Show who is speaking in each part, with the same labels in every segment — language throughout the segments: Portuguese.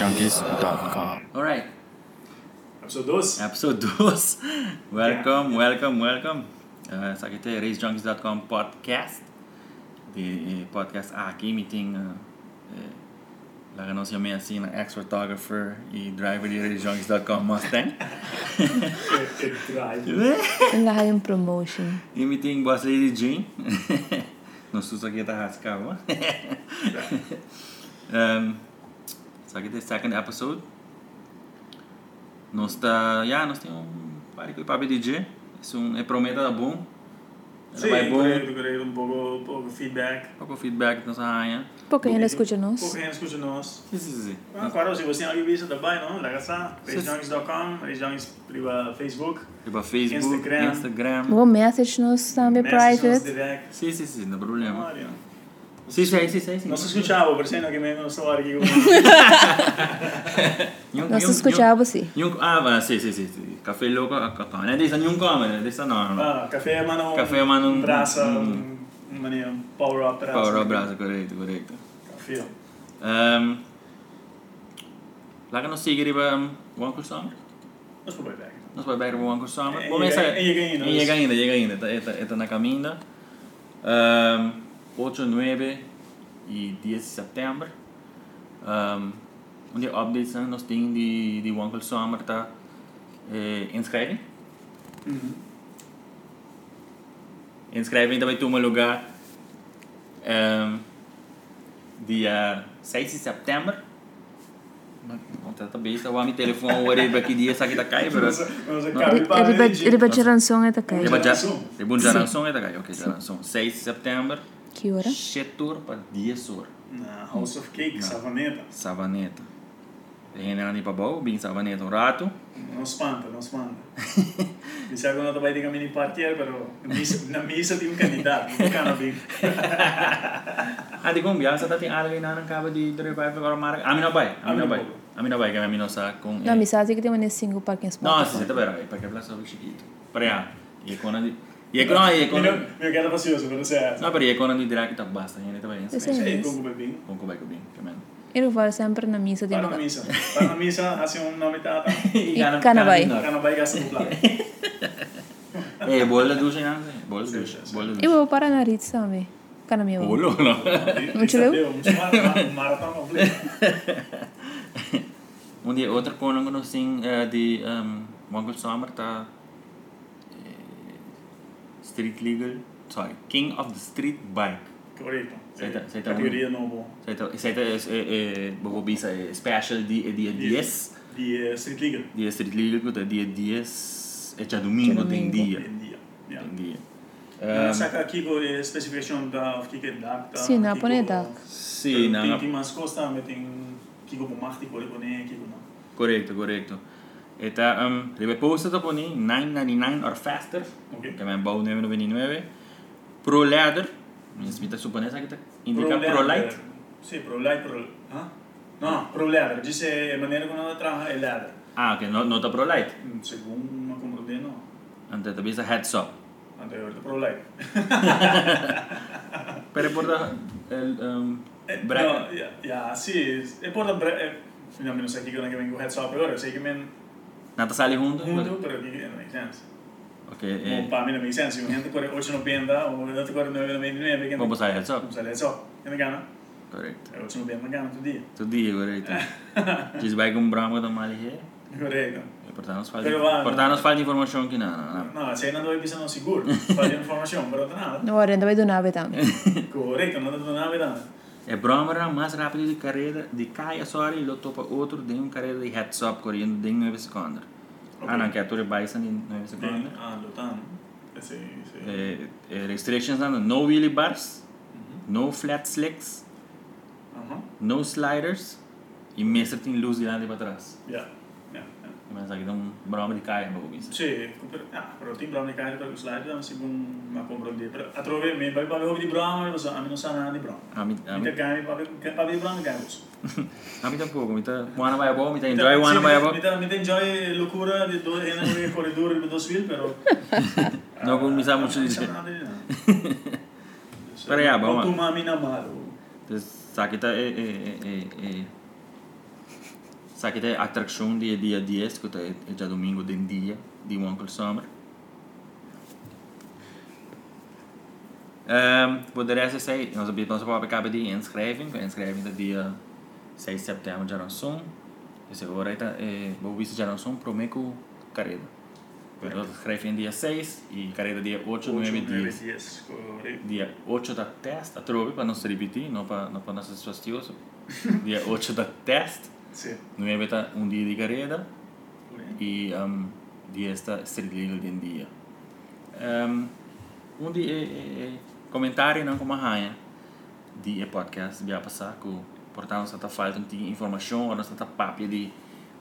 Speaker 1: junkies.com.
Speaker 2: All right,
Speaker 3: Episode 12?
Speaker 2: episode 2. welcome, welcome, welcome. Uh, sa kita je racejunkies.com podcast. De eh, podcast aqui meeting uh, eh, la renuncio mía sin ex-photographer y driver de racejunkies.com Mustang.
Speaker 3: It, it drive.
Speaker 4: Een lion promotion.
Speaker 2: e meeting boss lady Jean. Não sou só que tá rascava. um, só que the second episode. Nós tá, já nós tem um pare que para DJ. Isso um é prometa bom.
Speaker 3: Sì,
Speaker 2: vai bom.
Speaker 3: vorrei, vorrei un poco, poco um feedback.
Speaker 2: Pouco feedback nós arranha.
Speaker 4: Pouco ainda escuta
Speaker 3: Poco
Speaker 4: nós.
Speaker 3: gente escuta nós.
Speaker 2: Isso isso.
Speaker 3: Ah, claro, se você não viu isso também, não? Lagaçá,
Speaker 2: Sì.
Speaker 3: regiões.com, regiões para Facebook,
Speaker 2: Tipo Facebook,
Speaker 3: Instagram.
Speaker 2: Instagram.
Speaker 4: Vou message nós também
Speaker 3: messages
Speaker 4: private.
Speaker 3: direct.
Speaker 2: Sim, sim, sim, não problema.
Speaker 3: Mario.
Speaker 2: Sim, sim, sim, sim. sim.
Speaker 3: Non si escuchava, por sennò che mi non stavo a richiamare.
Speaker 2: Nhung-
Speaker 4: Nós
Speaker 2: nhung-
Speaker 4: escutava você.
Speaker 2: nhung- nhung- Ah, va, sì, sì, sì, sì. Caffè loco a Catania. Adesso non come, adesso no. no.
Speaker 3: Ah, caffè, ma non...
Speaker 2: Caffè, ma non-
Speaker 3: Brasa,
Speaker 2: Mm.
Speaker 3: in maniera un um, power up. brasa.
Speaker 2: Paolo Abrazo, corretto, corretto.
Speaker 3: Caffè.
Speaker 2: Ehm laat ik nog zeker even wankel samen.
Speaker 3: Non si può bere.
Speaker 2: Nós vai bem com o Sama.
Speaker 3: É,
Speaker 2: Bom,
Speaker 3: e
Speaker 2: essa
Speaker 3: é- e é ganhando,
Speaker 2: E
Speaker 3: isso.
Speaker 2: chega ainda, chega ainda. Tá, tá, tá na caminha. Um, 8, 9 e 10 de setembro. Um, um dia updates né, nós temos de, de Wankel Summer tá eh, inscrevem. Inscrevem também toma lugar um, dia 6 de setembro. Contrata besta, o meu telefone, o orelha aqui dia, essa aqui tá caindo,
Speaker 3: Non
Speaker 2: bro.
Speaker 3: so, non so, capi, parli, dici.
Speaker 4: Ribatirão som é
Speaker 2: Je
Speaker 4: takai.
Speaker 2: hebt ja,
Speaker 3: Jaranson.
Speaker 2: je moet Jaranson eten, oké, Jaranson. 6 september,
Speaker 4: Que hora?
Speaker 2: shit uur para 10 uur.
Speaker 3: Na House of Cake, Savaneta.
Speaker 2: Savaneta. De general niet pabou, bin savaneta um rato.
Speaker 3: Non spanta, non spanta. Mi sa che non vai di cammino in quartiere, però mi sa- non mi sa di un candidato, un cannabis.
Speaker 2: Ah, de combia, sa tati alga na nang kaba di dere pai para mar. Ami no pai, ami no pai. Ami no pai, que ami no sa eh. com.
Speaker 4: Na amizade que tem uma nesse single parking
Speaker 2: Não,
Speaker 4: spot.
Speaker 2: se senta pera, porque plaza o chiquito. Pera. E quando di E quando e
Speaker 3: Mi
Speaker 2: quando
Speaker 3: mi chiedo fastidioso, però se è...
Speaker 2: No, pera, e quando di direct basta, gente também.
Speaker 4: Eu sei.
Speaker 3: Sei con come bim.
Speaker 2: Com como vai com bem, que men.
Speaker 4: Eu vou sempre na missa de
Speaker 3: Parla
Speaker 4: lugar.
Speaker 3: misa, parla misa, ha un nome tata, cannabis gasta un plato.
Speaker 2: Eh, bolle douche, né? Bolle douche. Bolle douche.
Speaker 4: Eu vou parar na Ritz também. Cá na minha mão.
Speaker 2: Bolo, não.
Speaker 4: Non ce l'ho?
Speaker 3: Un marathon completo.
Speaker 2: Um dia, outra coisa que nós temos é de um, Mongol Summer, tá? eh, Street Legal, sorry, King of the Street Bike.
Speaker 3: Corretto.
Speaker 2: Sei ta-
Speaker 3: Eh,
Speaker 2: sei ta-
Speaker 3: Categoria nuovo
Speaker 2: Isso aí, isso aí, vou pensar, é eh, special dia, dia 10,
Speaker 3: di eh, Street League.
Speaker 2: dia Street Legal, tá? dia 10, é dia eh, domingo, tem dia,
Speaker 3: India. Yeah.
Speaker 2: tem dia. Ehm, Um,
Speaker 3: Non sa che Kiko è specification da Kiko Duck.
Speaker 4: Sì, no, pone Duck.
Speaker 2: Sim,
Speaker 3: não.
Speaker 2: não,
Speaker 3: Ti mascosta, metti in Kiko Pomachti, poi pone Kiko no.
Speaker 2: correto, correto. Eta, um, rebe posta tá por 9.99 or faster.
Speaker 3: Ok.
Speaker 2: que me han bouwd 99. Pro Ladder, mis mitas suponesa que te indica
Speaker 3: Pro
Speaker 2: Pro
Speaker 3: leather.
Speaker 2: Light.
Speaker 3: Sì, pro light, pro... Ah? No, pro leather. Dice in maniera come una traha è leather.
Speaker 2: Ah, que no, no está Pro Light.
Speaker 3: Mm, Secondo una comprende no.
Speaker 2: Antes te pisa Heads Up.
Speaker 3: Anche ho detto pro light.
Speaker 2: Pero por la, el um,
Speaker 3: Eh,
Speaker 2: bracket.
Speaker 3: No, ja, ja, sì. E poi da bra... Eh, no, non sai chi non è che vengo heads up ora, sai che men...
Speaker 2: Nata sale junto.
Speaker 3: Punto, però chi non ha senso.
Speaker 2: Ok,
Speaker 3: Un
Speaker 2: eh,
Speaker 3: pa' a me non ha senso. Un gente cuore oggi non penda, o vedete cuore non non penda, perché...
Speaker 2: vamos a Heads
Speaker 3: Non
Speaker 2: Up.
Speaker 3: sa heads up. E mi gana?
Speaker 2: Correcto.
Speaker 3: E oggi non penda, mi gana tutti i
Speaker 2: Tu di, correcto. Ci sbagli con Bramo da male here.
Speaker 3: giorni. Corretto.
Speaker 2: Portanos falta,
Speaker 3: Pero va, no.
Speaker 2: portanos falta información que nada, nada.
Speaker 3: No, sei non dove bisogna sicuro. Fai informazione, però da
Speaker 4: Na hora ainda vai donar também.
Speaker 3: nada. Corretto, non da nada, da
Speaker 2: É Brahma era mais rápido de carreira de Kaya Sori e lutou para outro de uma carreira de heads up correndo em 9 segundos. Ah, não, que a Torre Bison em 9 segundos.
Speaker 3: nada. Ah, lontano. Eh, Sì, sì.
Speaker 2: Eh, eh, restrictions are no wheelie bars, no flat slicks,
Speaker 3: Aha.
Speaker 2: no sliders e mestre tem luz de lado e para trás.
Speaker 3: Ja. ja. ja.
Speaker 2: Mas aqui dá um broma de caia para isso.
Speaker 3: Sì, per- ah, però ti bravo di carri per slide, non si può ma compro di però a trovare me vai parlo di bravo, lo so, a me non sa nada di bravo.
Speaker 2: A mim
Speaker 3: Mi te cani parlo che parlo di bravo che uso.
Speaker 2: tampouco, me tá one vai bom, me tá enjoy one vai bom.
Speaker 3: Mi te mi te enjoy locura di due e non che corridore di due svil però.
Speaker 2: Não vou pues, me usar muito
Speaker 3: Non
Speaker 2: disso.
Speaker 3: sa nada di nada.
Speaker 2: Pero ya, vamos.
Speaker 3: Tu mami na malo.
Speaker 2: eh, Então, aqui tá é é é é Sa che te attraction di dia di esco te è già domingo den dia di Uncle Summer. Ehm, voor de rest is hij, onze bij onze papa hebben die inschrijving, de inschrijving dat die eh, 6 september já não são. Dus eu vou reita, eh, vou visto já não são promeco carreda. Eu escrevi em dia 6 e carreda dia 8, 9, 10.
Speaker 3: 10, correcto.
Speaker 2: Dia 8 da testa, trove para não se repetir, não para não para não ser fastidioso. Dia 8 da testa.
Speaker 3: Sí,
Speaker 2: Noi avete un dia di carriera
Speaker 3: correcto.
Speaker 2: e um, di questa stridile di un dia. Um, un di eh, e, e, e commentari non come haia di e podcast vi ha passato portando stata falta di informazione, non stata papia di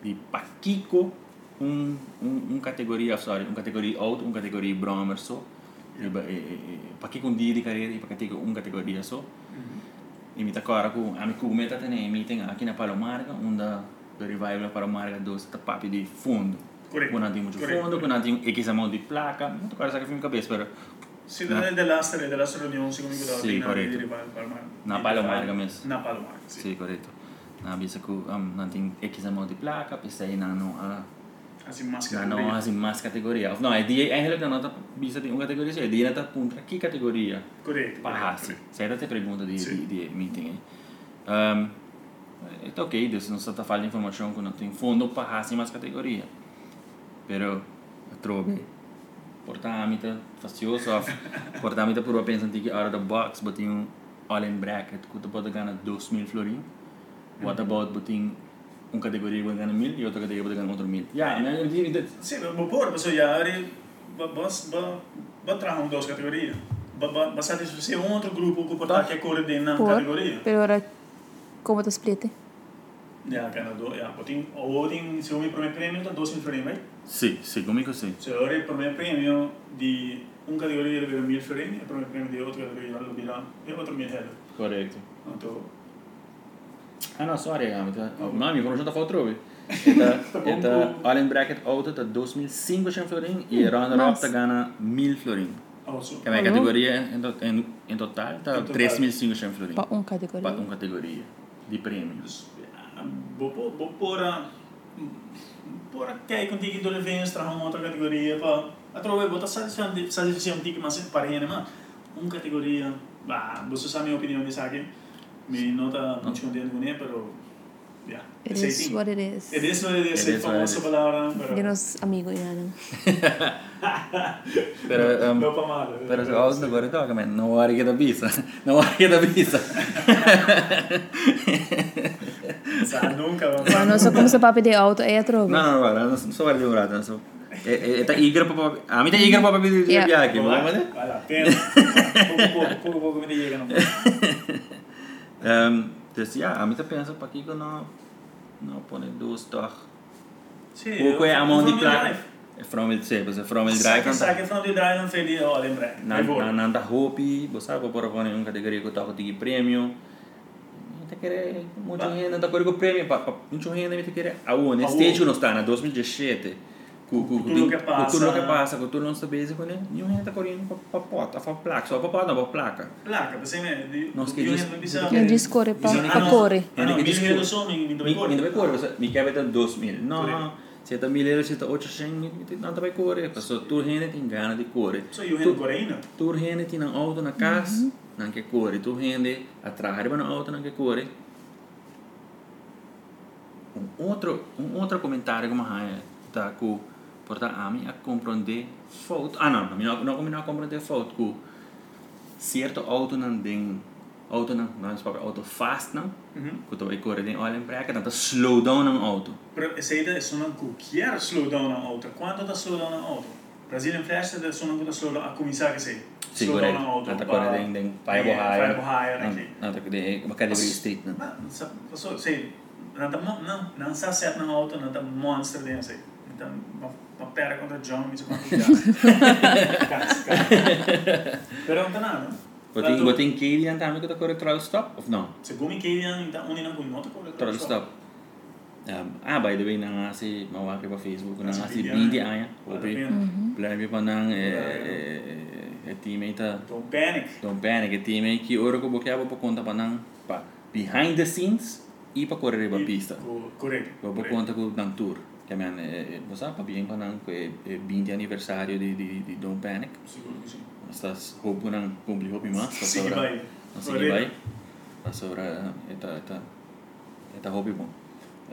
Speaker 2: di pachico un, un, un categoria, sorry, un categoria out, un categoria bromer so. eh, E, e, e, pachico un dia di carriera e pachico un categoria so. Imita Cora com a Mikumeta tem meeting aqui na Palomarga, onda do revival da Palomarga dos tapapi de fundo.
Speaker 3: Correto.
Speaker 2: Com nadinho de
Speaker 3: Correto.
Speaker 2: fundo, com nadinho e quis a mão de placa, muito cara saca filme cabeça, pero
Speaker 3: Sí, desde el de las tres, de las reuniones, sí, como que
Speaker 2: Sí, correcto. Na Palomarga mismo.
Speaker 3: Na Palomarga, sí.
Speaker 2: sim, correto. Na bisa ku um, nadinho e quis a mão de placa, pensei na não a
Speaker 3: Así más que
Speaker 2: na não as mais categoria. Não, é dia, é realmente não tá bisa de uma categoria, é dia tá punta que categoria.
Speaker 3: Correcto.
Speaker 2: Parrassi. Será te pergunta di,
Speaker 3: Sì.
Speaker 2: di, di meeting. eh? Ehm, e tá ok, adesso non stata falha informazione con in fondo Parrassi mas categoria. Però trovi portamita fastidioso a portamita pure pensando che out of the box, botin un all in bracket, che tu pode ganhar 2000 florin. What about botin un categoria pode ganhar 1000 e outra categoria pode ganhar outro 1000. Yeah, né? di- di-
Speaker 3: Sí, pero por eso ya ahora vas va va trajo boh, dos Boh, categorías. Va va va satisfacer outro grupo que portar que coordena a
Speaker 4: Por,
Speaker 3: categoria.
Speaker 4: pero ahora, ¿cómo te expliqué?
Speaker 3: Ya, Canadá, ya, botin, ou tem, se ah, boh, o meu primeiro prêmio, então 12 mil florins,
Speaker 2: Sì, sì, comico sì.
Speaker 3: Se ahora el primer premio de un categoría le dieron 1000 florines, el primer premio de otra categoría le dieron de otro 1000 euros.
Speaker 2: Corretto.
Speaker 3: Entonces,
Speaker 2: Ah, no, sorry, ja, want, eh, oh, nou, mi conosciuta fa altrove. Eta Allen Bracket Auto tá da 2500 florin e Runner Up
Speaker 4: nice.
Speaker 2: da gana 1000 tá florin.
Speaker 3: also,
Speaker 2: Che è una
Speaker 4: Mhm.
Speaker 2: categoria in, tot- in, in totale da
Speaker 3: In totale.
Speaker 2: 3500 florin.
Speaker 4: Para
Speaker 2: Per
Speaker 4: un categoría.
Speaker 2: una categoria di premio.
Speaker 3: vou por a... Por a que contigo do Levens trajo uma outra categoria para... A trove, vou estar satisfazendo um tique mais parecido, mas... Uma categoria... Bah, você sabe a minha opinião disso aqui. Me nota muito contente com ele, mas... Yeah,
Speaker 4: It is what it is.
Speaker 3: It is what it is,
Speaker 2: It
Speaker 3: é
Speaker 2: is what it
Speaker 3: famosa
Speaker 2: is.
Speaker 3: palavra, pero...
Speaker 4: Yo no soy amigo de nada.
Speaker 2: Però, ehm,
Speaker 3: Meu pra mal.
Speaker 2: però se tá, ho da guarda che me non vuole che é da bisa. Non vuole che é da bisa.
Speaker 3: Sa, nunca,
Speaker 4: Mas não só como se papi de auto, é trovo.
Speaker 2: No, no, no, guarda, non so guarda, guarda, non so. E e ta é, tá igra proprio. A me ta igra proprio di
Speaker 4: Yeah.
Speaker 2: piacchi,
Speaker 3: Vale
Speaker 2: ma
Speaker 3: la
Speaker 2: come
Speaker 3: pena. Poco a poco, poco a poco me llegan.
Speaker 2: Ehm, dus ja, Amita pensa para que não não põe duas torres.
Speaker 3: Sí,
Speaker 2: Pouco é a mão de placa.
Speaker 3: drive.
Speaker 2: É from it, sim, você from it drive.
Speaker 3: Saque, saque from the drive and feliz, ó, lembra.
Speaker 2: Na na na da hopi, você sabe por pôr em uma categoria que eu toco de prêmio. Não te querer muito renda, tá correndo prêmio, pa pa muito renda, me te querer. A one
Speaker 3: Aonde?
Speaker 2: stage não está na 2017. Cu cu
Speaker 3: Tudo que passa.
Speaker 2: tudo que passa, com tudo não sabe isso, né? Nenhum renda tá correndo para pota, para placa, só para pota, para placa.
Speaker 3: Placa, pensei mesmo.
Speaker 2: Não, esqueci disso.
Speaker 4: Não diz cor, é pra- pra cor.
Speaker 3: Ah, não,
Speaker 2: Ele que diz
Speaker 3: mil
Speaker 2: cor.
Speaker 3: euros só, me
Speaker 2: Mi, mi deve
Speaker 3: dói cor.
Speaker 2: correre, cioè, mi chiede da 2000.
Speaker 3: Corretto.
Speaker 2: No, siete 1000 euro, siete 800, mi ti tanto per correre. Passo tu rende ti inganna di correre.
Speaker 3: Só eu rendo coreína.
Speaker 2: Tu rende ti in auto na casa, anche correre. Tu rende a trarre una auto, anche correre. Un altro, un altro commentario come hai da cu porta a me a comprendere foto. Ah no, no, no come non comprendere foto cu cierto auto non ding auto non, non è proprio auto fast non. Kuto ik hoorde in Allen Bracken dat is slow down een auto.
Speaker 3: Seida, sono qualquer slowdown na outra. Quanto da slowdown na outra? Brazilian Flash, sono da slowdown a começar a ser.
Speaker 2: Zie
Speaker 3: Slowdown na
Speaker 2: correct.
Speaker 3: outra.
Speaker 2: Dat ik hoorde in de Bible
Speaker 3: Fireball
Speaker 2: Higher. Mm.
Speaker 3: Higher, aqui.
Speaker 2: Dat ik de wat kan je weer street dan?
Speaker 3: Ah, sa- so, sei, nada, mo- não, não está certo na auto, nada monster dentro, sei. Então, uma, uma pera contra John, isso é uma Pero não nada.
Speaker 2: Wat in wat in Katie aan het dat hoorde trouwens stop of no?
Speaker 3: Se gumi que ele ainda onde não gumi nota corre.
Speaker 2: Trouwens stop. Um, ah, by the way, nang asi mawaki pa Facebook nang asi
Speaker 3: Video,
Speaker 2: bindi
Speaker 3: né?
Speaker 2: aya. Obi. Plan bi pa nang eh eh teammate ta.
Speaker 3: Então, panic.
Speaker 2: eh, Don Panic, teammate que ora ko bokiabo pa conta pa nang pa behind the scenes ir para correr para a pista.
Speaker 3: Co- Correto.
Speaker 2: Dopo
Speaker 3: correto.
Speaker 2: conta con Dan Tour, che mi hanno, eh, lo sa, papà, quando hanno il eh, 20 anniversario di, di, di Don't Panic.
Speaker 3: Seguro que sim.
Speaker 2: Estas roupas não complicou bem mais.
Speaker 3: Sigue bem.
Speaker 2: Segui bem. Sobre esta esta esta roupa bom.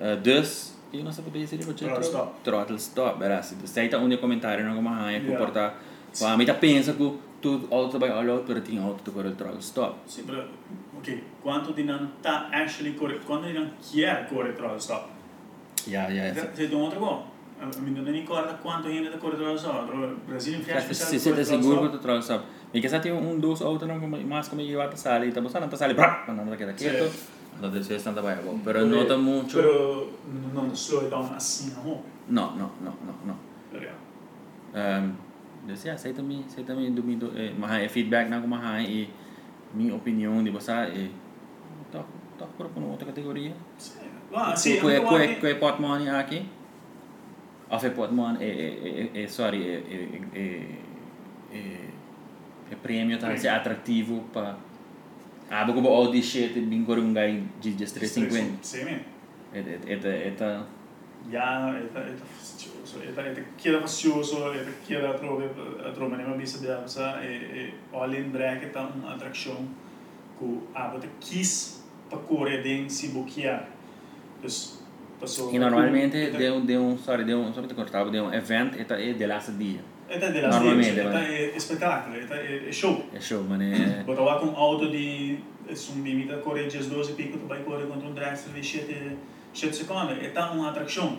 Speaker 2: Eh, Dus e nós podemos dizer que
Speaker 3: Throttle stop.
Speaker 2: Throttle stop, era assim. Sei tá onde comentário não como ah, a
Speaker 3: Yeah.
Speaker 2: comportar. Mas a mim tá pensa que tu auto vai olhar para ti auto para o throttle stop.
Speaker 3: Sì, però, ok, quanto di non ta actually corretto, quanto di non chi è corretto, stop.
Speaker 2: Yeah, yeah. yeah.
Speaker 3: Siete un altro po'. Eh, Mi non mi ricordo quanto viene da corretto, lo so, però Brasile in
Speaker 2: Se se siete sicuro que tu throttle stop. E que sabe um dos auto não como mais como eu até sale, tá passando, tá sale, brap, não tá queda
Speaker 3: Sì.
Speaker 2: quieto. Entonces está vai bom. Pero nota muito.
Speaker 3: Eh, Però non solo da un assino,
Speaker 2: No, no, no, no, no. Um, dus ja, zij daarmee, zij daarmee, doe me, do, eh, maar hij feedback naar maar hij, eh, mijn opinion, die was hij, eh, toch, toch voor een andere categorie.
Speaker 3: Ma sì,
Speaker 2: Kwe,
Speaker 3: anche
Speaker 2: kwe,
Speaker 3: qua-
Speaker 2: kwe potman ja, aki. Of een potman, eh, eh, eh, eh, eh, sorry, eh, eh, eh, eh, eh, eh, premio, dat is attractief op, eh. Ah, ik heb al die shit, ik ben gewoon een guy, die just 350.
Speaker 3: Sì, me.
Speaker 2: Het, het, het, het, eh,
Speaker 3: Ja, è è fastidioso, è è chieda fastidioso, è chieda trove, trove ne mabisa di avsa e e olin bracket un attraction ku abot kiss pa core den si bukia. Dus passo
Speaker 2: E normalmente deu, deu um, sorry, deu um, só pra te cortar, deu um evento e tá e de last dia.
Speaker 3: Eta della
Speaker 2: Normalmente,
Speaker 3: stage, eta
Speaker 2: vai.
Speaker 3: è, è spettacolo, eta è, è show.
Speaker 2: É show, mano, é...
Speaker 3: Vou lá com auto de um limite a correr dias 12 pico, tu vai correr contra um dragster de 7 secondi, eta uma atração.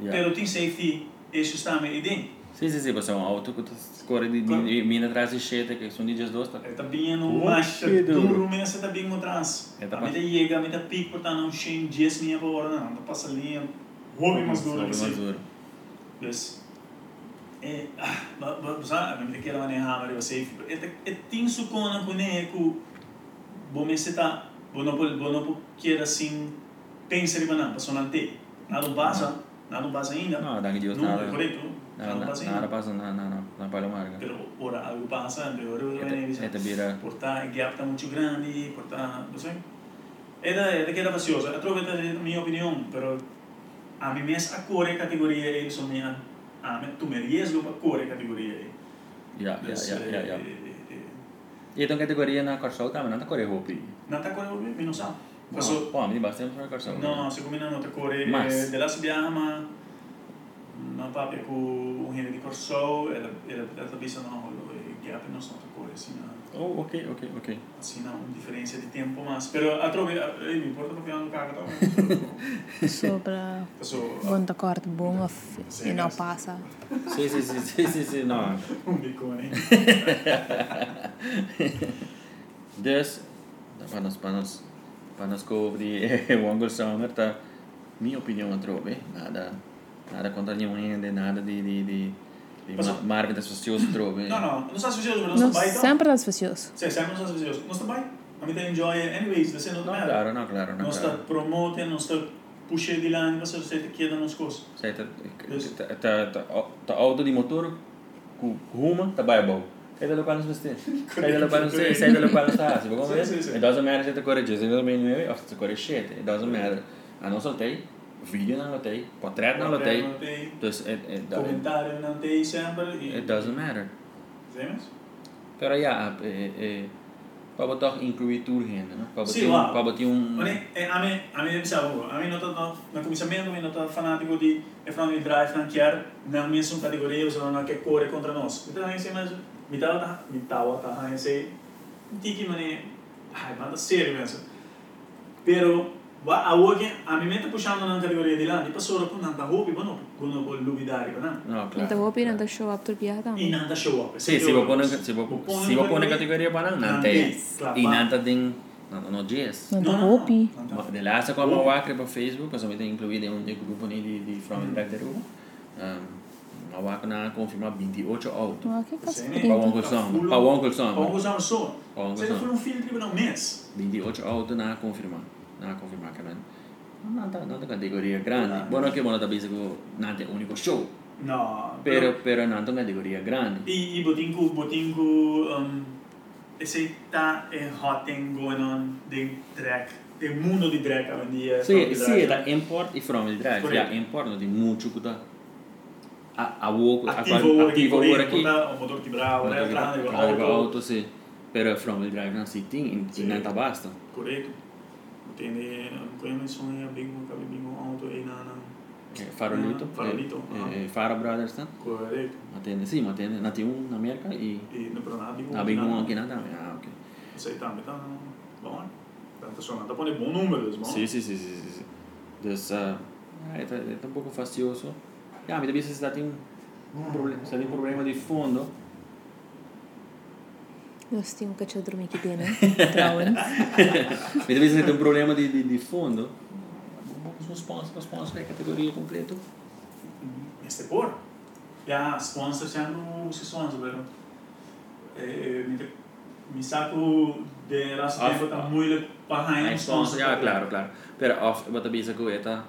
Speaker 2: Yeah.
Speaker 3: Pero tem safety, isso está meio idem.
Speaker 2: Sim, sim, sim, você é um auto que tu escolhe de, de, de mina atrás de cheta, que são de dias dois, tá?
Speaker 3: Eta bem no
Speaker 2: Puxa,
Speaker 3: macho,
Speaker 2: duro.
Speaker 3: duro, mas eta bem no trans.
Speaker 2: Eta
Speaker 3: A
Speaker 2: pa-
Speaker 3: meta chega, a meta pico, portanto não cheio de 10 minha por hora, não, não passa eh. linha, roubo mais duro
Speaker 2: Sobe
Speaker 3: que
Speaker 2: mais
Speaker 3: sim.
Speaker 2: duro.
Speaker 3: Dus, eh, ah, bazaar, ik keer wanneer hamer was even. Het tien seconden kon ik hoe bomeseta bonopo bonopo keer assim pensa riba não passou na te nada passa nada passa ainda
Speaker 2: Não, dá que Deus
Speaker 3: não é
Speaker 2: Ah, nada.
Speaker 3: correto
Speaker 2: Nada,
Speaker 3: nada passa
Speaker 2: nada, nada
Speaker 3: ainda
Speaker 2: passa na, na, na, na palomarga.
Speaker 3: pero ora algo passa de ora ora vem
Speaker 2: É da beira.
Speaker 3: portar gap está muito grande portar não sei é da é da que era paciosa a troca da minha opinião pero a mim mesmo a cor é categoria eles são minha a mim tu me riesgo para cor é categoria
Speaker 2: Já, já,
Speaker 3: Mas,
Speaker 2: já, já,
Speaker 3: eh,
Speaker 2: já.
Speaker 3: eh, eh,
Speaker 2: E então categoria na Corsol também, não tá correr roupa.
Speaker 3: não tá cor me não sabe passou
Speaker 2: Pô, me bastante pra Corsol.
Speaker 3: não se combina outra cor é
Speaker 2: Mas-
Speaker 3: de lá se chama não papo com o Henrique de Corsol ela ela ela pensa não o gap não são outra cor assim não
Speaker 2: Oh, ok, ok, ok.
Speaker 3: Assim, não, diferença de tempo, ah, mas. Pero a trove. Ei, me importa porque eu não cago, tá?
Speaker 4: Sobra
Speaker 3: Passou.
Speaker 4: quando corta bom of-
Speaker 3: Sim,
Speaker 4: e não
Speaker 3: sim.
Speaker 4: passa.
Speaker 2: Sim, sim, sim, sim, sim, sim, não.
Speaker 3: Um bicone.
Speaker 2: Dus, para nós, para nós, para nós cobrir o Anglo Summer, tá? Minha opinião é trobe, nada, nada contra nenhum ainda, nada de, de, de, de
Speaker 3: Mas-
Speaker 2: ma- marketing associoso trobe.
Speaker 3: Não, não, não está sujeito, mas não então?
Speaker 4: Não,
Speaker 3: está baita.
Speaker 4: sempre das pessoas.
Speaker 3: Sim, sempre não está sujeito. Não está baita. A mim tá enjoy, anyways, você não
Speaker 2: Não,
Speaker 3: está.
Speaker 2: claro, não, claro,
Speaker 3: Não
Speaker 2: não,
Speaker 3: está
Speaker 2: claro.
Speaker 3: promote, não está puxando de lá, você você te queda nos cos.
Speaker 2: Sei, tá,
Speaker 3: Dus-
Speaker 2: tá, tá, tá, tá auto de motor, com ruma, tá baibol. Sai do local nos vestir. Sai do local nos vestir, sai do local nos tassi, vou comer.
Speaker 3: Sim, sim, sim.
Speaker 2: It doesn't matter se te corrigir, se também não é, ou se te corrigir, it doesn't matter. A não soltei, vídeo não lotei, portrait não lotei.
Speaker 3: Não tem.
Speaker 2: Dus het, het, het,
Speaker 3: Comentário não tem sempre. e-
Speaker 2: It doesn't matter.
Speaker 3: Sim, mas.
Speaker 2: Pero ja, eh, eh, Pablo toch incluir tour heen, né? Pablo
Speaker 3: Sì,
Speaker 2: tem
Speaker 3: va.
Speaker 2: um, Pablo tem um,
Speaker 3: Olha, é, eh, a mim, a mim, sabe, a mim não tá, no começamento, a mim não tá fanático de é falando de drive, flanquear, na mesma categoria, ou seja, na que cor é contra nós. Então, aí, mas, me tava, tá, me tava, tá, aí, sei, tiki, mané, ai, manda sério mesmo. Pero, va, a hoje, a mim, me tá puxando na categoria de lá, e passou, por não tá roupa, não, quando eu vou duvidar, não.
Speaker 2: não, claro.
Speaker 4: Então vou opinar da show up turbiar
Speaker 3: E
Speaker 4: também.
Speaker 3: não tá show up.
Speaker 2: Sim, se vou pôr na, se vou, se vou pôr na categoria para não, não tem.
Speaker 3: Claro,
Speaker 2: E
Speaker 3: va.
Speaker 2: não tem, não, não diz.
Speaker 4: Não
Speaker 3: Não,
Speaker 4: da
Speaker 3: não, não,
Speaker 4: roupa.
Speaker 3: não tá.
Speaker 2: De laatste kwam een wakker op Facebook, als we incluir de um grupo né, de, de from back
Speaker 3: Mm.
Speaker 2: the room. Um, a wakker na confirmar 28 autos.
Speaker 4: Ah, que faz
Speaker 3: Sim.
Speaker 2: Para o
Speaker 4: brinco.
Speaker 2: Uncle Samba,
Speaker 3: Full-
Speaker 2: para o Uncle
Speaker 3: Vamos
Speaker 2: Samba.
Speaker 3: usar uma só.
Speaker 2: Vamos
Speaker 3: Você
Speaker 2: usar.
Speaker 3: não foi um filho de tribunal mês.
Speaker 2: 28 autos na confirmar, na confirmar que não. Não, não, não tem categoria grande. Bom, que bom, talvez eu não tem único oh, show.
Speaker 3: No, Ah,
Speaker 2: Pero, pero no en tu categoría grande.
Speaker 3: E, e botinco, botinco um, ese tá eh, hot thing going on de drag. De mundo de drag hoy en día.
Speaker 2: Sì,
Speaker 3: Drag.
Speaker 2: sì, da import e from il drag,
Speaker 3: Corretto.
Speaker 2: ja, import dat die mucho kuda. A a wo
Speaker 3: Attivo ora che
Speaker 2: attivo ora
Speaker 3: corre,
Speaker 2: ki.
Speaker 3: o motor che bravo, eh, grande,
Speaker 2: Bravo,
Speaker 3: auto.
Speaker 2: auto sì. Per from il drag non si ting in
Speaker 3: Sì.
Speaker 2: in nata basta.
Speaker 3: Corretto. Tiene, quella menzione a Bingo, Cavi Bingo, auto e Nana.
Speaker 2: Eh, Farolito.
Speaker 3: Ah, Farolito,
Speaker 2: eh,
Speaker 3: ah.
Speaker 2: eh, Fara Brothers sta.
Speaker 3: Corretto.
Speaker 2: Matene, sì, matene, nati un na merca e
Speaker 3: E no, però Nabi.
Speaker 2: na bingo anche nata. Ah, ok.
Speaker 3: Sei tam, tam. Buono. Tanto sono andato a buon numero, insomma.
Speaker 2: Sì, sì, sì, sì, sì, sì. Dus eh, eh, è, è un poco fastidioso. Ja, mi devi essere stati un, un problema, stati un problema di fondo.
Speaker 4: Nós tínhamos que te dormir aqui bem, né? Trouwens.
Speaker 2: Mi devi essere stato un problema di, di, di fondo. Su sponsor, sponsor è categoria completo.
Speaker 3: este por. Ya, sponsors ya no uso sponsors, pero eh, mi, mi saco de raso
Speaker 2: Ah,
Speaker 3: tiempo
Speaker 2: ah.
Speaker 3: está muy le paja
Speaker 2: Ah, sponsor,
Speaker 3: en sponsors.
Speaker 2: ja, claro, claro. Però off, ma devi essere questa,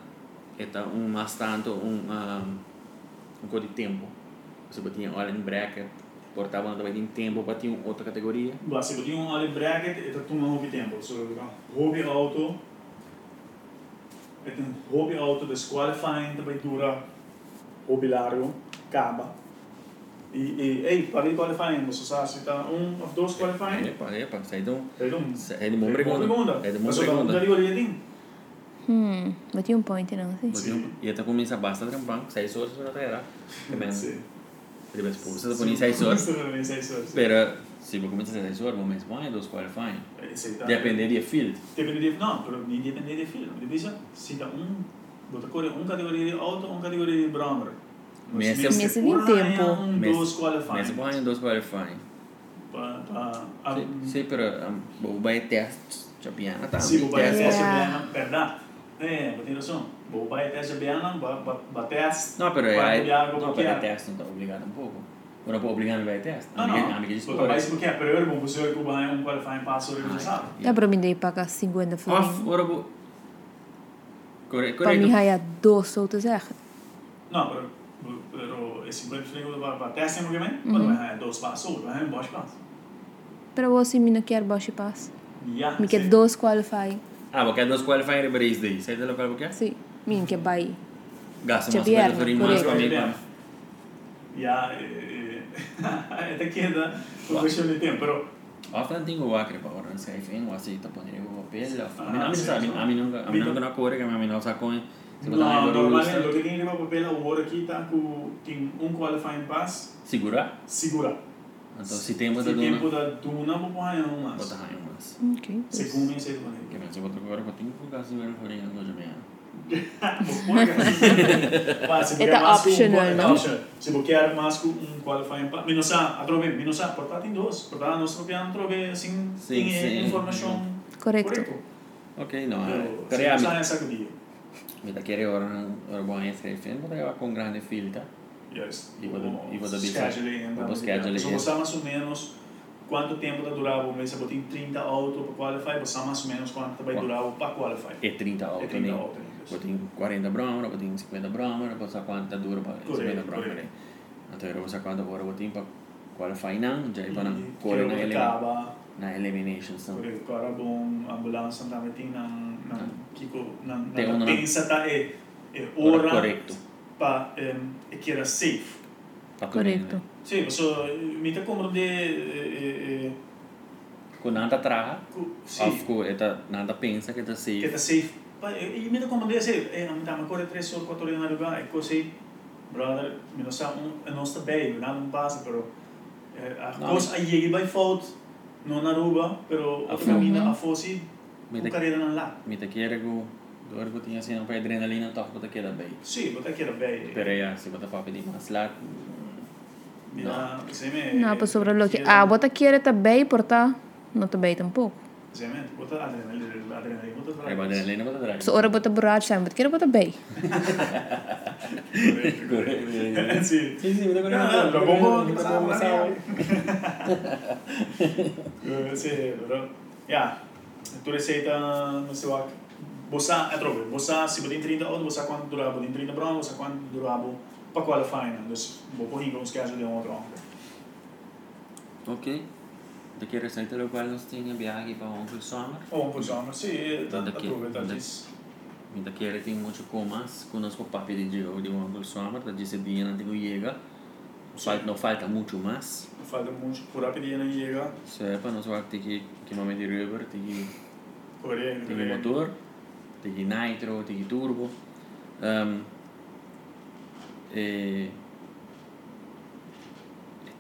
Speaker 2: questa un más tanto, un, um, un po' di tempo. Você botinha hora in bracket, portava também em tempo, batia em outra categoria.
Speaker 3: Bah, se eu tinha um ali bracket, eu tô no hobby tempo. So, hobby auto. Eu tenho hobby auto disqualifying, também dura hobby largo, acaba. E, e ei, parei qualifying, você sabe se tá um ou dois
Speaker 2: Eh,
Speaker 3: qualifying?
Speaker 2: Epa, epa, sai de um.
Speaker 3: Perdão.
Speaker 2: Sai de uma bregona. Sai de uma
Speaker 3: Mas eu tô com
Speaker 2: bregona.
Speaker 3: categoria, tem?
Speaker 4: Hum, bati um point, não, sim.
Speaker 2: Botinha, e até começa basta trampar, seis horas para trabalhar. Também.
Speaker 3: Sim.
Speaker 2: Depois você põe seis horas. Espera, se você começa seis horas, mas vai dos qualifying.
Speaker 3: Eh, Depende.
Speaker 2: Depende de field.
Speaker 3: Depende de, não, pero nem depende de filho. Depende de se dá um, bota cor, um categoria de auto, um categoria de Brahmer.
Speaker 2: Mas é-
Speaker 4: Mas é nem tempo.
Speaker 3: Um
Speaker 2: Mas- Mas
Speaker 3: dos qualifying.
Speaker 2: vai dos qualifying.
Speaker 3: Pa- pa- a-
Speaker 2: Sei para o vai teste, campeão, tá?
Speaker 3: Se o Bahia
Speaker 4: teste.
Speaker 3: teste
Speaker 4: É.
Speaker 3: Biana, verdade? É, botei noção. O Bahia teste Biana, bateste.
Speaker 2: Não, pera
Speaker 3: Vai
Speaker 2: aí.
Speaker 3: olhar como
Speaker 2: Não,
Speaker 3: que é.
Speaker 2: pera, teste não tá obrigado um pouco. Eu não posso obrigar no vai teste.
Speaker 3: Não,
Speaker 2: Amiga-
Speaker 3: não.
Speaker 2: Amiga de
Speaker 3: Bota mais
Speaker 2: escolha.
Speaker 3: porque é primeiro, bom, você vai que o Bahia é um qualifying passo, você sabe.
Speaker 4: Dá É para mim daí pagar 50
Speaker 2: Off,
Speaker 4: flamengo.
Speaker 2: ora vou. Correto.
Speaker 4: Para mim, raia dois soltas é.
Speaker 3: Não, pero, pero é esse branco chegou para para teste, porque vem,
Speaker 2: Uhum.
Speaker 3: quando vai é dois passos, vai é um bom passo.
Speaker 4: Para você, me não quer baixo e passo.
Speaker 3: Yeah,
Speaker 4: Me quer
Speaker 3: Ah, sim.
Speaker 4: dois qualifying.
Speaker 2: Ah, vou querer dos qualifying de Brace Day. Sai da local, vou querer?
Speaker 4: Sim. Mim quer vai.
Speaker 2: Gasta
Speaker 4: Ce
Speaker 2: mais
Speaker 4: pierd,
Speaker 2: coisa por mais
Speaker 4: corect.
Speaker 2: comigo.
Speaker 3: Ya, eh, eh, até que ainda não questão de tempo, pero
Speaker 2: Often tengo acre para ahora, se fen o así, te pondría como piel. A mí
Speaker 3: Ah,
Speaker 2: no me
Speaker 3: sí,
Speaker 2: sabe,
Speaker 3: sí.
Speaker 2: a mí nunca, a mí
Speaker 3: Vito.
Speaker 2: nunca no corre, que a mí no sacó. Se
Speaker 3: não,
Speaker 2: botaban en la
Speaker 3: normalmente o
Speaker 2: lista.
Speaker 3: que tem que levar papel agora aqui tá com tem um qualifying pass,
Speaker 2: Segura.
Speaker 3: segura.
Speaker 2: Entonces, si tengo de
Speaker 3: Se
Speaker 2: dona,
Speaker 3: tempo da duna, vou pôr um
Speaker 2: bota
Speaker 3: mas.
Speaker 2: ahí más.
Speaker 4: Ok.
Speaker 3: Segundo em segundo.
Speaker 2: Que me se bota agora, porque tengo que casi ver el foreño en los llamados.
Speaker 3: "Ah, Era
Speaker 4: Era optional, não?
Speaker 3: Se você quer mais com um qualifying pass, menos a, a trove, menos a, portanto tem dois. Portanto, nós tropeamos trove assim,
Speaker 2: Sim,
Speaker 3: tem
Speaker 2: sim.
Speaker 3: eh, informação
Speaker 4: Correto.
Speaker 2: Ok, no, eh,
Speaker 3: Pero,
Speaker 2: pero
Speaker 3: se
Speaker 2: ya,
Speaker 3: usa
Speaker 2: mi-
Speaker 3: essa comida.
Speaker 2: mi te quiere ahora, ahora voy a escribir, fen, porque va con grande filta.
Speaker 3: Yes.
Speaker 2: E vou do- e vou do Bicep.
Speaker 3: Scheduling.
Speaker 2: Vou
Speaker 3: né?
Speaker 2: do scheduling,
Speaker 3: Só
Speaker 2: yes.
Speaker 3: passar mais ou menos quanto tempo tá durava o mês. Eu botei 30 auto para qualify, passar mais ou menos quanto vai
Speaker 2: Qua-
Speaker 3: durar o para qualify.
Speaker 2: E 30 auto,
Speaker 3: É 30
Speaker 2: né?
Speaker 3: auto.
Speaker 2: Poi tengo 40 bromero, poi tengo 50 bromero, poi sa quanta dura per
Speaker 3: Corretto,
Speaker 2: 50 bromero.
Speaker 3: corretto.
Speaker 2: Até agora sa quanta ora poi tengo quale fai nan, già poi
Speaker 3: E
Speaker 2: nan corre
Speaker 3: que
Speaker 2: na né?
Speaker 3: eu
Speaker 2: elim
Speaker 3: tava,
Speaker 2: na elimination
Speaker 3: por
Speaker 2: sono.
Speaker 3: exemplo, agora bom, a ambulância também tem na na Kiko na
Speaker 2: Tá. Tem um na-
Speaker 3: na pensa tá é é
Speaker 2: Ora
Speaker 3: hora
Speaker 2: corretto.
Speaker 3: para é que era safe.
Speaker 2: né?
Speaker 4: Corretto.
Speaker 3: Sim, você me tá como de é, é, é,
Speaker 2: Con nanta traga,
Speaker 3: cu- safe.
Speaker 2: of co eta nanta pensa che ta
Speaker 3: que
Speaker 2: sei.
Speaker 3: tá safe. Pa- E me como desse, é, não tá uma cor três ou quatro horas na lugar, é coisa ecco, brother, me não sabe um, não está bem, não não passa, pero eh, a
Speaker 2: Não.
Speaker 3: coisa a ele vai fault, não na Aruba, pero
Speaker 2: A
Speaker 3: a
Speaker 2: fo-
Speaker 3: caminha a fosse,
Speaker 2: Me
Speaker 3: o
Speaker 2: te
Speaker 3: carreira na lá.
Speaker 2: mi te chiede go dove go tinha sino per adrenalina tá to po te chiede bei.
Speaker 3: Sim, botar que era bem.
Speaker 2: Per ea si pota fa pedi mas la
Speaker 3: Não, você me
Speaker 4: Não, para sobreloque. Ah, bota querer também, portar. Não também tampouco.
Speaker 3: Você me bota adrenalina, adrenalina, bota
Speaker 2: e va adrenalina pota
Speaker 4: Se
Speaker 2: traga.
Speaker 4: ora bota borracha, mas querer bota bem.
Speaker 2: Corretto.
Speaker 3: Sim.
Speaker 2: Sì, sì, mi devo
Speaker 3: Ah,
Speaker 2: mi devo- mi devo- mi devo-
Speaker 3: Sì, però. Ja, tu receita, não sei lá. Bossa, é trovo. Bossa, se botin 30 ou bossa quanto durava, botin 30 brown, bossa quanto durava para qualifying. Dus, vou pôr em uns casos de um outro.
Speaker 2: Ok. tá de que restaurante lo cual nos tiene viaje para Onkel Sommer.
Speaker 3: Oh, por exemplo, sim, tá
Speaker 2: Onde que-
Speaker 3: aproveitando
Speaker 2: onde-
Speaker 3: isso.
Speaker 2: Ainda que ele tem tá muito comas conosco papi de Diogo de Onkel Sommer, da disse Diana de Guiega. Falta, não falta muito mais.
Speaker 3: Falta muito por apelido em chegar.
Speaker 2: Sepa, nós vamos ter que, que nome de rubber, tem que
Speaker 3: Porém,
Speaker 2: Tem motor, tem nitro, tem turbo. Ehm, eh,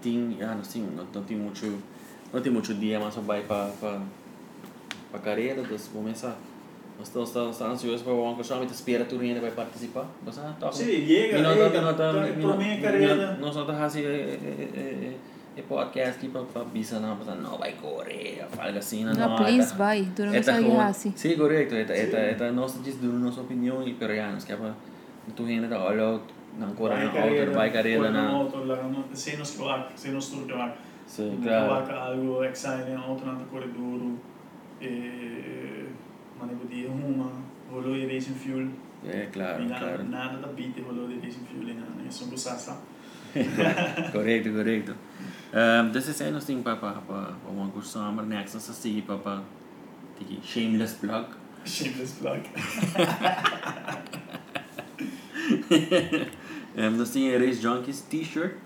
Speaker 2: tem, ah, não, sim, não, não tem muito, não tem muito dia, mas só vai para para para carreira, então vou começar. Nós estamos estamos estamos ansiosos para o Onco Show, mas espera tudo ainda vai participar. ah, tá Você não está.
Speaker 3: Sim, chega,
Speaker 2: não
Speaker 3: chega, tá- pra mim é carreira.
Speaker 2: Nós não estamos assim, eh, eh, eh, eh, podcast aqui para para bisa não, para não vai correr, fala assim, não.
Speaker 4: No,
Speaker 2: não,
Speaker 4: Ah, please,
Speaker 2: tá-
Speaker 4: vai. Tú no me
Speaker 2: Eta
Speaker 4: sabías
Speaker 2: gewoon-
Speaker 4: así.
Speaker 2: Sí, correcto. Eta, eta, eta nossa diz do nossa opinião e peruanos, que é para tu ainda da olha, não cora na outra, vai carreira na.
Speaker 3: Sem nos Slovak, sem nos Turkovac.
Speaker 2: Sim, claro.
Speaker 3: Slovak algo, Exile, outro na corredor. Eh, Mas eu podia uma, rolou de Racing Fuel.
Speaker 2: É, claro,
Speaker 3: Nada,
Speaker 2: claro.
Speaker 3: nada da Pite rolou de Racing Fuel, né? São Bussassa.
Speaker 2: Correcto, correcto. Um, desses anos tem para para para uma curso amar next se sigue para para tiki shameless plug.
Speaker 3: Shameless plug.
Speaker 2: Um, nós tem Race Junkies t-shirt.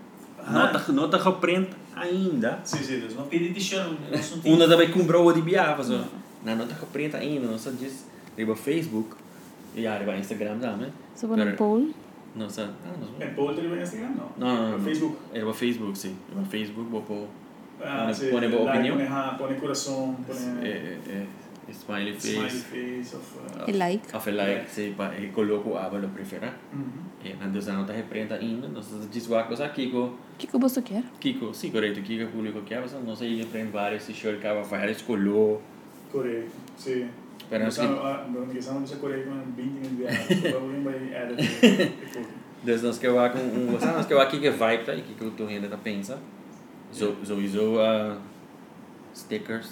Speaker 2: Nota nota geprint ainda.
Speaker 3: Sim, sim, Deus. Não pedi de chão, nós não
Speaker 2: Uma também comprou o de biava, só. Na nota geprint ainda, nós só diz, riba Facebook. E aí, riba Instagram, dá, né?
Speaker 4: Se pone
Speaker 2: Pero-
Speaker 4: Paul.
Speaker 2: Não, só. Ah, nós
Speaker 3: É Polter e Instagram, não.
Speaker 2: Não, não, não. não.
Speaker 3: Facebook.
Speaker 2: É o Facebook, sim. É o Facebook, vou pôr.
Speaker 3: Ah,
Speaker 2: Pone-
Speaker 3: sim.
Speaker 2: pone boa
Speaker 3: like, né?
Speaker 2: opinião?
Speaker 3: Pone, ra- pone coração, pone
Speaker 2: É, é, é. Smiley face.
Speaker 3: smiley face. Of, uh,
Speaker 2: Oh.
Speaker 4: El like.
Speaker 2: A fé like, sim, pá. E coloco a aba no prefera.
Speaker 3: uhum.
Speaker 2: E né? na Deus não tá reprenda ainda. Nós desguacos a Kiko.
Speaker 4: ¿Qué que vos quieres?
Speaker 2: Kiko, sim, correto. Kiko publicou que a aba. Não sei, reprende vários. Se chora, cava, vários, colou.
Speaker 3: Correto, sim.
Speaker 2: Pero
Speaker 3: Não
Speaker 2: assim-
Speaker 3: sabe- ah, não, ninguém sabe onde você correu com 20 mil viagens. Alguém vai edit.
Speaker 2: Deus nós que eu com um. Sabe, nós que eu aqui que vai pra aí. Kiko, tu ainda tá pensa. Zoizou a. uh, Stickers.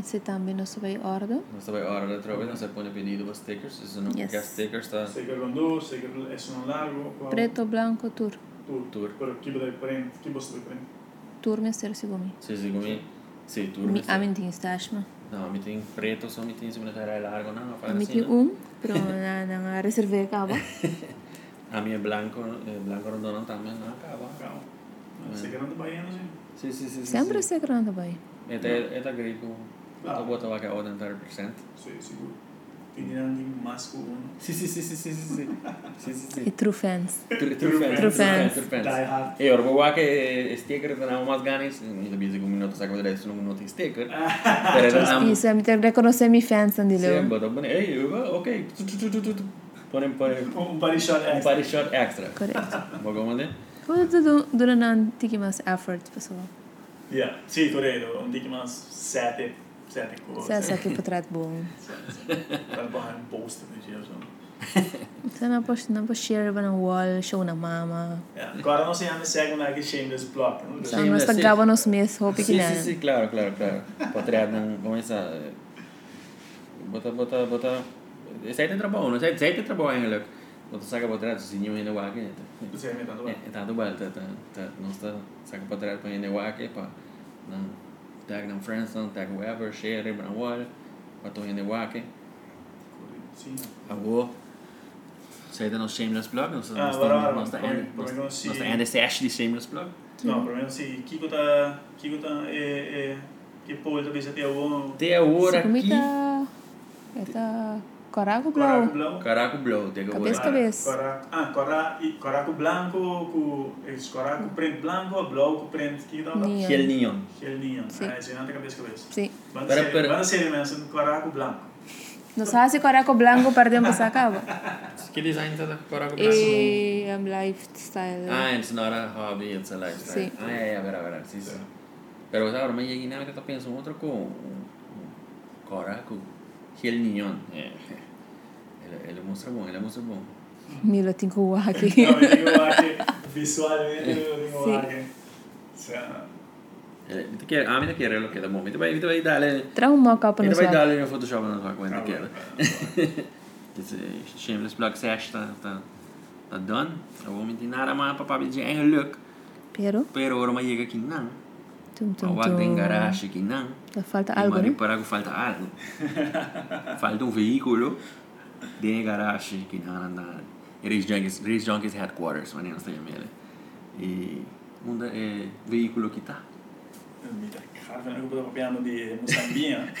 Speaker 4: Ese también no se ve ordo.
Speaker 2: Nós vai hora da trova. Nós vai pôr pedido para stickers. Se não
Speaker 4: Yes.
Speaker 2: quer stickers, tá.
Speaker 3: Sei que é Rondô, sei que é Sono Largo. qual-
Speaker 4: Preto, blanco, tur.
Speaker 3: Tur.
Speaker 2: Tur.
Speaker 3: Pero que você prende, que você prende.
Speaker 4: Tur me ser sigumi.
Speaker 2: Vocês digam me. Sim, tudo.
Speaker 4: Mi amintin stashma.
Speaker 2: Não, me tem preto, só me tem secretária largo, não, faz assim,
Speaker 4: Amintin
Speaker 2: não.
Speaker 4: um, pero na na reserve acaba.
Speaker 2: A minha é branco, é branco rondona também, não acaba.
Speaker 3: Calma. Sei que é do Baiano, gente.
Speaker 2: Sim, sim, sim. sim,
Speaker 4: Sempre assim.
Speaker 2: sim.
Speaker 4: se grande vai.
Speaker 2: É da, é da grego.
Speaker 3: Ah.
Speaker 2: Eu boto lá que é o dentário por cento.
Speaker 3: Sei, seguro. Pinirandi, Masco, Uno.
Speaker 2: Sim, sim, sim, sim, sim, sim, sim. Sim, sim,
Speaker 4: E
Speaker 2: sim.
Speaker 4: true fans.
Speaker 2: Tru-
Speaker 3: True
Speaker 2: Trufens,
Speaker 4: fans.
Speaker 2: trufens,
Speaker 3: Die
Speaker 2: trufens.
Speaker 3: Hard.
Speaker 2: E ora, vou lá que é sticker, não há mais ganes. Não sabia se um minuto, sabe, mas não tem sticker. Pero era um-
Speaker 4: Isso, me tem que reconhecer mi fans andi
Speaker 2: Sim,
Speaker 4: leo.
Speaker 2: botou bonito. Ei, eu- ok. Tu, tu, tu, tu, tu, tu. Põe, põe.
Speaker 3: Um body shot
Speaker 2: Um
Speaker 3: extra.
Speaker 2: body shot extra.
Speaker 4: Correto.
Speaker 2: Vou mandar.
Speaker 4: Vou tudo durante um tiki mais effort, pessoal.
Speaker 3: Yeah. Sì, Toredo, un dico mas sete, sete
Speaker 4: Se
Speaker 3: cose.
Speaker 4: é só que portrait bom.
Speaker 3: Dal behind post di giro sono.
Speaker 4: Se não posso, não posso share na wall, show na mama.
Speaker 3: Yeah. Guarda, non si hanno seguono anche Shameless Block. Non
Speaker 4: Se
Speaker 3: lo
Speaker 2: Sim,
Speaker 4: não
Speaker 2: sim.
Speaker 4: está nos meus, hope que
Speaker 2: Sim, sim,
Speaker 4: não.
Speaker 2: sim, claro, claro, claro. Potreado não começa. Bota, bota, bota. Esse aí tem trabalho, não? Esse aí tem trabalho, hein, Luke? Bota, saca potreado, se não ainda vai aqui.
Speaker 3: Tu sei metà dove?
Speaker 2: É, tá do bal, tá, tá, tá. Não está, saca potreado para ainda vai aqui, pá. Não, tag não friends, não tag whoever, share, não olha. Bota ainda vai aqui.
Speaker 3: Sì.
Speaker 2: Agora. Isso aí tem nosso shameless blog, nós
Speaker 3: Ah,
Speaker 2: nós-
Speaker 3: agora,
Speaker 2: nós
Speaker 3: como- como
Speaker 2: nós-
Speaker 3: é que eu sei?
Speaker 2: nós ainda se acha de shameless blog.
Speaker 3: No, per me sì. assim, Kiko ta... Kiko tá, é, ta... E... E... Che poi tu pensi a te a uomo...
Speaker 2: Até agora aqui.
Speaker 4: Comida. Eta.
Speaker 3: Coraco
Speaker 4: Corago blau.
Speaker 3: blau.
Speaker 2: Caraca, o blow, até agora.
Speaker 4: Cabeça- Cabeça.
Speaker 3: Coraco... Ah, cora- i- coraco blanco cu... e Coraco prend blanco, blau cu prend... Chi dava?
Speaker 4: Neon.
Speaker 2: Gel neon.
Speaker 3: Che linea.
Speaker 4: Sì.
Speaker 3: Eh, se non ti capisco questo.
Speaker 4: Sim.
Speaker 3: Vado
Speaker 2: Però- però-
Speaker 3: a serie, ma sono coraco blanco.
Speaker 4: Não sabe se coraco branco perdemos a cabo.
Speaker 2: Que design tá da Coraco
Speaker 4: E am lifestyle.
Speaker 2: Ah, it's not a hobby, it's a lifestyle.
Speaker 4: Sim.
Speaker 2: Ah, é, é, verá, verá, sim, sim. Pero agora, mas aqui nada que tá pensando outra com um, um Coraco, Gel Neon. É. Ele, ele mostra bom, ele mostra bom.
Speaker 4: Milo tinko waki.
Speaker 3: No, io dico anche visualmente, io dico
Speaker 4: Sì.
Speaker 3: anche... Cioè...
Speaker 2: Ele, ele quer, ah, ele quer, ele quer, bom, ele vai, ele vai dar, ele,
Speaker 4: Trau um mock-up
Speaker 2: ele
Speaker 4: no
Speaker 2: vai
Speaker 4: seu.
Speaker 2: dar ele no Photoshop na sua conta,
Speaker 3: Ah,
Speaker 2: quer. Esse shameless blog sesh tá, tá, tá done. Eu vou mentir nada mais pra papi de engeluk.
Speaker 4: Pero.
Speaker 2: Pero agora, mas chega aqui, não.
Speaker 4: Tum, tum,
Speaker 5: Ao Agda
Speaker 4: tum.
Speaker 5: Engarashi, que não.
Speaker 4: Tá, Falta
Speaker 5: Em
Speaker 4: algo, né?
Speaker 5: Mariparago falta algo. falta um veículo de Engarashi, que não, não, não. Race Junkies, Race Junkies Headquarters, mas não sei E um da- é, veículo que tá.
Speaker 3: Mita, harve una cosa copiando di Musambia.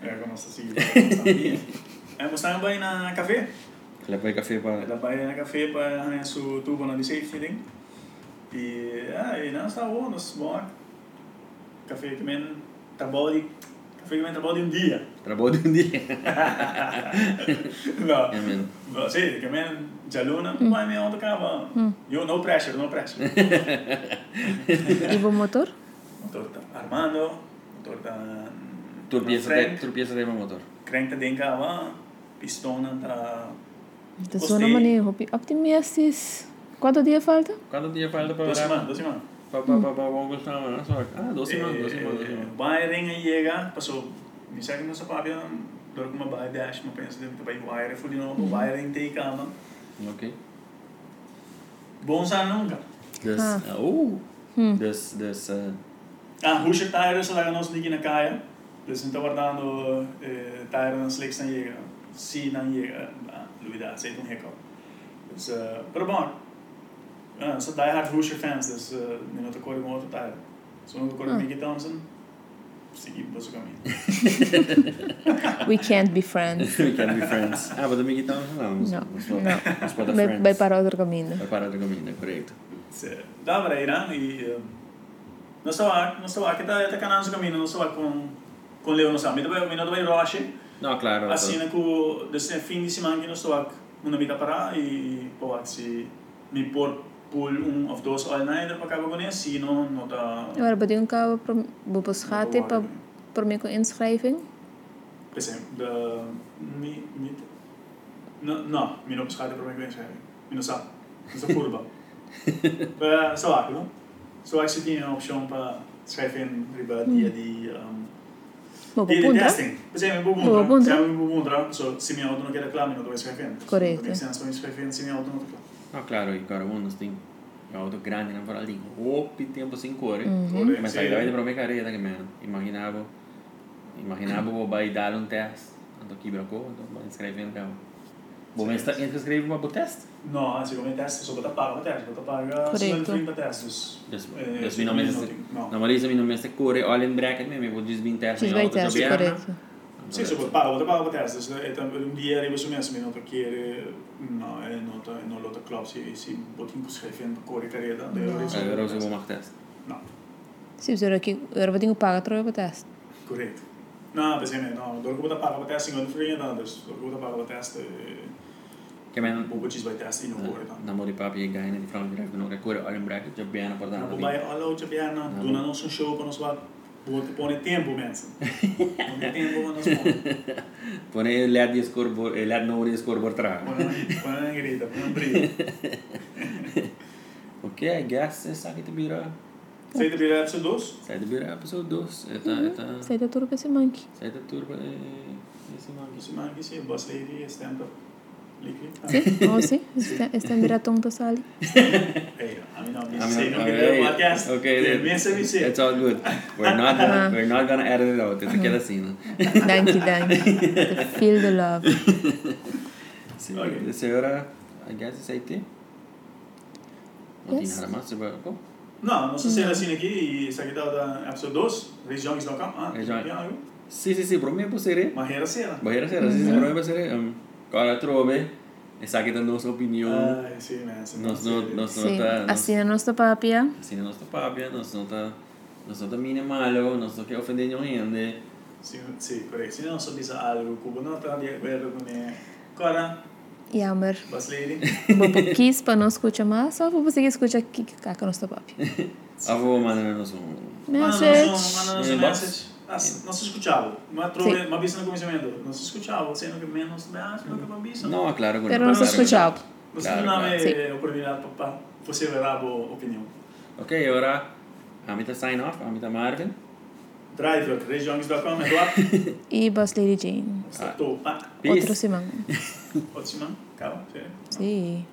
Speaker 3: Era come sta sigla, Musambia. Eh, Musambia in a caffè.
Speaker 2: Ela põe café para.
Speaker 3: Da bai in a caffè per andare su tubo di safety thing. E ah, e non sta buono, smog. Caffè che men tabodi. Caffè che men tabodi un dia.
Speaker 2: Trabalho de um dia.
Speaker 3: No.
Speaker 2: É mesmo.
Speaker 3: Well, see, come in, Jaluna, buy me all the car, well, You, no pressure, no pressure.
Speaker 4: E o motor?
Speaker 3: motor está armando, eh, motor está...
Speaker 2: Tropeça de, tropeça de meu motor.
Speaker 3: Crank está dentro, ah, pistona está...
Speaker 2: Oh,
Speaker 4: Tá só na maneira. Optimistas. Quanto dia falta?
Speaker 2: Quanto dia falta para
Speaker 3: Doce
Speaker 2: virar?
Speaker 3: man, doce man.
Speaker 2: Para bom gostar, não só. Ah, doce mano, doce mano, doce mano.
Speaker 3: Wiring Eh, aí chega, passou... Me segue no sapabia, dor com uma buy dash, uma pensa dentro, vai wire, fui de novo, wiring tem cama.
Speaker 5: Eh,
Speaker 2: Ok.
Speaker 3: Bom usar nunca.
Speaker 2: Dus,
Speaker 4: Ah. Hmm.
Speaker 2: ah. oh. Dus, dus, eh,
Speaker 3: Ah, Husher Tires lá nós ninguém na caia. Eles estão guardando eh, Tires nas leis não chega. Se não chega, ah, Luida, aceita um recall. Mas, eh, pero bom, ah, só die hard Husher fans, eles eh, não tocou com outro tá? Tire. Só não tocou com Mickey Thompson, segui para o caminho.
Speaker 4: We can't be friends.
Speaker 2: we can be friends. Ah, mas amigo então não.
Speaker 4: Não, não.
Speaker 2: Mas pode
Speaker 4: Vai,
Speaker 2: friends.
Speaker 4: vai para outro caminho.
Speaker 2: Vai parar de caminho, correto.
Speaker 3: Se dá para ir, né? E eh, não estou aqui, não estou aqui, está tá canando o caminho, não estou aqui com, com Leo, não sabe. Mas não vai Roche.
Speaker 2: Não, claro.
Speaker 3: Assim, ako, desse fim de semana que nós estou aqui, uma vida para e pô, se me pôr por um of dois all night para acabar com isso, se não, não tá
Speaker 4: Agora bati um cabo para o Boschate para para mim com inscriving.
Speaker 3: por exemplo, da mi mi não, não, me não buscar de problema com isso, me não sabe, não sou curva. Mas só aqui, não? Só aqui se tinha a opção para escrever em riba dia de um,
Speaker 4: Bom,
Speaker 3: Dia de
Speaker 4: punta.
Speaker 3: testing. Por exemplo, em Bubundra,
Speaker 4: Bobo Bundra.
Speaker 3: se é em Bubundra, så se minha auto não quer reclamar, não estou escrevendo.
Speaker 4: Correto.
Speaker 3: Tem senso, estou escrevendo, se minha auto não reclama.
Speaker 2: Ah, claro, e agora um tem algo grande na para ali. Ope oh, tempo sem cor.
Speaker 4: Mm. Mhm.
Speaker 3: Correto,
Speaker 2: Mas
Speaker 3: sim.
Speaker 2: a grande para mim careta que mesmo. Imaginava, imaginava vou vai dar um teste. Ando aqui branco, então vai escrevendo cá. Bom, mas está escreve uma boa teste.
Speaker 3: No, anzi, come test, sopra da paga, test, sopra da paga,
Speaker 4: Corretto.
Speaker 3: sopra da test.
Speaker 2: Just,
Speaker 3: Eh,
Speaker 2: just
Speaker 3: sì,
Speaker 2: mi não
Speaker 3: minuti,
Speaker 2: mesmo.
Speaker 3: no.
Speaker 2: Na Marisa mi não mesmo cor, olha em bracket mesmo, vou desvintar
Speaker 4: Sim, vai teste, correto.
Speaker 3: Sì, sopra da paga, sopra da paga, test, e un dia arrivo su me, se mi nota chiere, no, e nota, e non lo taclò, si, si, botin pus chefen, cuore careta, e ora
Speaker 2: Aí agora eu
Speaker 3: risolvo.
Speaker 2: vou mais teste.
Speaker 3: No,
Speaker 4: Sim, agora aqui, agora bati um pago para o teste.
Speaker 3: corretto. No, per esempio, no, dopo da paga, test, in ogni frega, no, dopo da paga, test, e...
Speaker 2: Que mesmo
Speaker 3: Bobo ci sbai test, in cuore, no.
Speaker 2: namori Eh, papi e gaina di fronte direct no record olha em bracket já bem na porta.
Speaker 3: Não, vai, olha o Tchabiana, tu não nosso no show para nós lá. Bote põe tempo, mensen. Põe tempo para nós pôr.
Speaker 2: Pone LED e scoreboard, eh, LED no scoreboard tra.
Speaker 3: Põe uma grita, põe um brilho.
Speaker 2: Ok, I guess eh, it's like to be a
Speaker 3: Sei de virar para doce?
Speaker 2: Sai do Birá, pessoa doce. Eta,
Speaker 4: Mhm.
Speaker 2: eta,
Speaker 4: Sai da turma para esse manque.
Speaker 2: sai da turba. É, esse mangue.
Speaker 3: Você manda que sim, bosta aí, esse tempo. Liquid.
Speaker 4: Sim, ou sim. Este é miratão da sala.
Speaker 3: Ei, a mim não,
Speaker 2: I
Speaker 3: me
Speaker 2: mean,
Speaker 3: sei, não me
Speaker 2: okay,
Speaker 3: deu podcast.
Speaker 2: okay,
Speaker 3: Okay, me sei, me sei.
Speaker 2: It's all good. We're not gonna, we're not gonna edit it out. It's aquela assim, né?
Speaker 4: Danke, danke. Feel the love.
Speaker 2: Senhora,
Speaker 3: Okay.
Speaker 2: senhora, I guess it's IT. Não tem
Speaker 4: Yes.
Speaker 2: nada mais sobre pô.
Speaker 3: Não, não sei se era assim aqui, isso aqui dá da episódio 12, regiões do campo. Ah,
Speaker 2: Regiões.
Speaker 3: regiões.
Speaker 2: Sim, sim, sim, para mim é para ser.
Speaker 3: Mas era assim, era.
Speaker 2: Barreira será, sim, sim, para mim é para ser. Agora trove, essa aqui é a nossa opinião.
Speaker 3: Ai, sim, mensen.
Speaker 2: Nós não, nós não
Speaker 4: Sim,
Speaker 2: tá, nós
Speaker 4: assim é nossa papia.
Speaker 2: assim não está pábia, nós não tá, nós não tá minimal, nós não quer ofender ninguém, né?
Speaker 3: Sim, sim, correto. Se não soubesse algo, Cuba não está de acordo com ele. Agora,
Speaker 4: Jammer.
Speaker 3: Baslady.
Speaker 4: Bobo quis para não escutar mais, só para você que escuta aqui que caca nossa papia.
Speaker 2: Avô mandar-nos um
Speaker 3: Ah.
Speaker 4: Message.
Speaker 3: Manda nos
Speaker 2: Inbox.
Speaker 3: message. As, não se escutava. Uma
Speaker 4: Sim.
Speaker 3: trove, uma bicha no começamento. Não se escutava. Você não que menos me acha, não que uma bicha.
Speaker 2: Não, é claro que
Speaker 4: Pero não se
Speaker 2: claro que
Speaker 4: escutava.
Speaker 3: Você
Speaker 2: Claro,
Speaker 3: não dá
Speaker 2: claro.
Speaker 4: Sim.
Speaker 3: me oportunidade para você ver a boa opinião.
Speaker 2: Ok, agora a mita sign off, a mita Marvin.
Speaker 3: Driver, regiões.com, Eduardo.
Speaker 4: E Boss Lady Jane.
Speaker 3: Estou. Ah,
Speaker 2: Peace.
Speaker 4: Outro semana.
Speaker 3: ótimo. Calma, sério.
Speaker 4: Sim.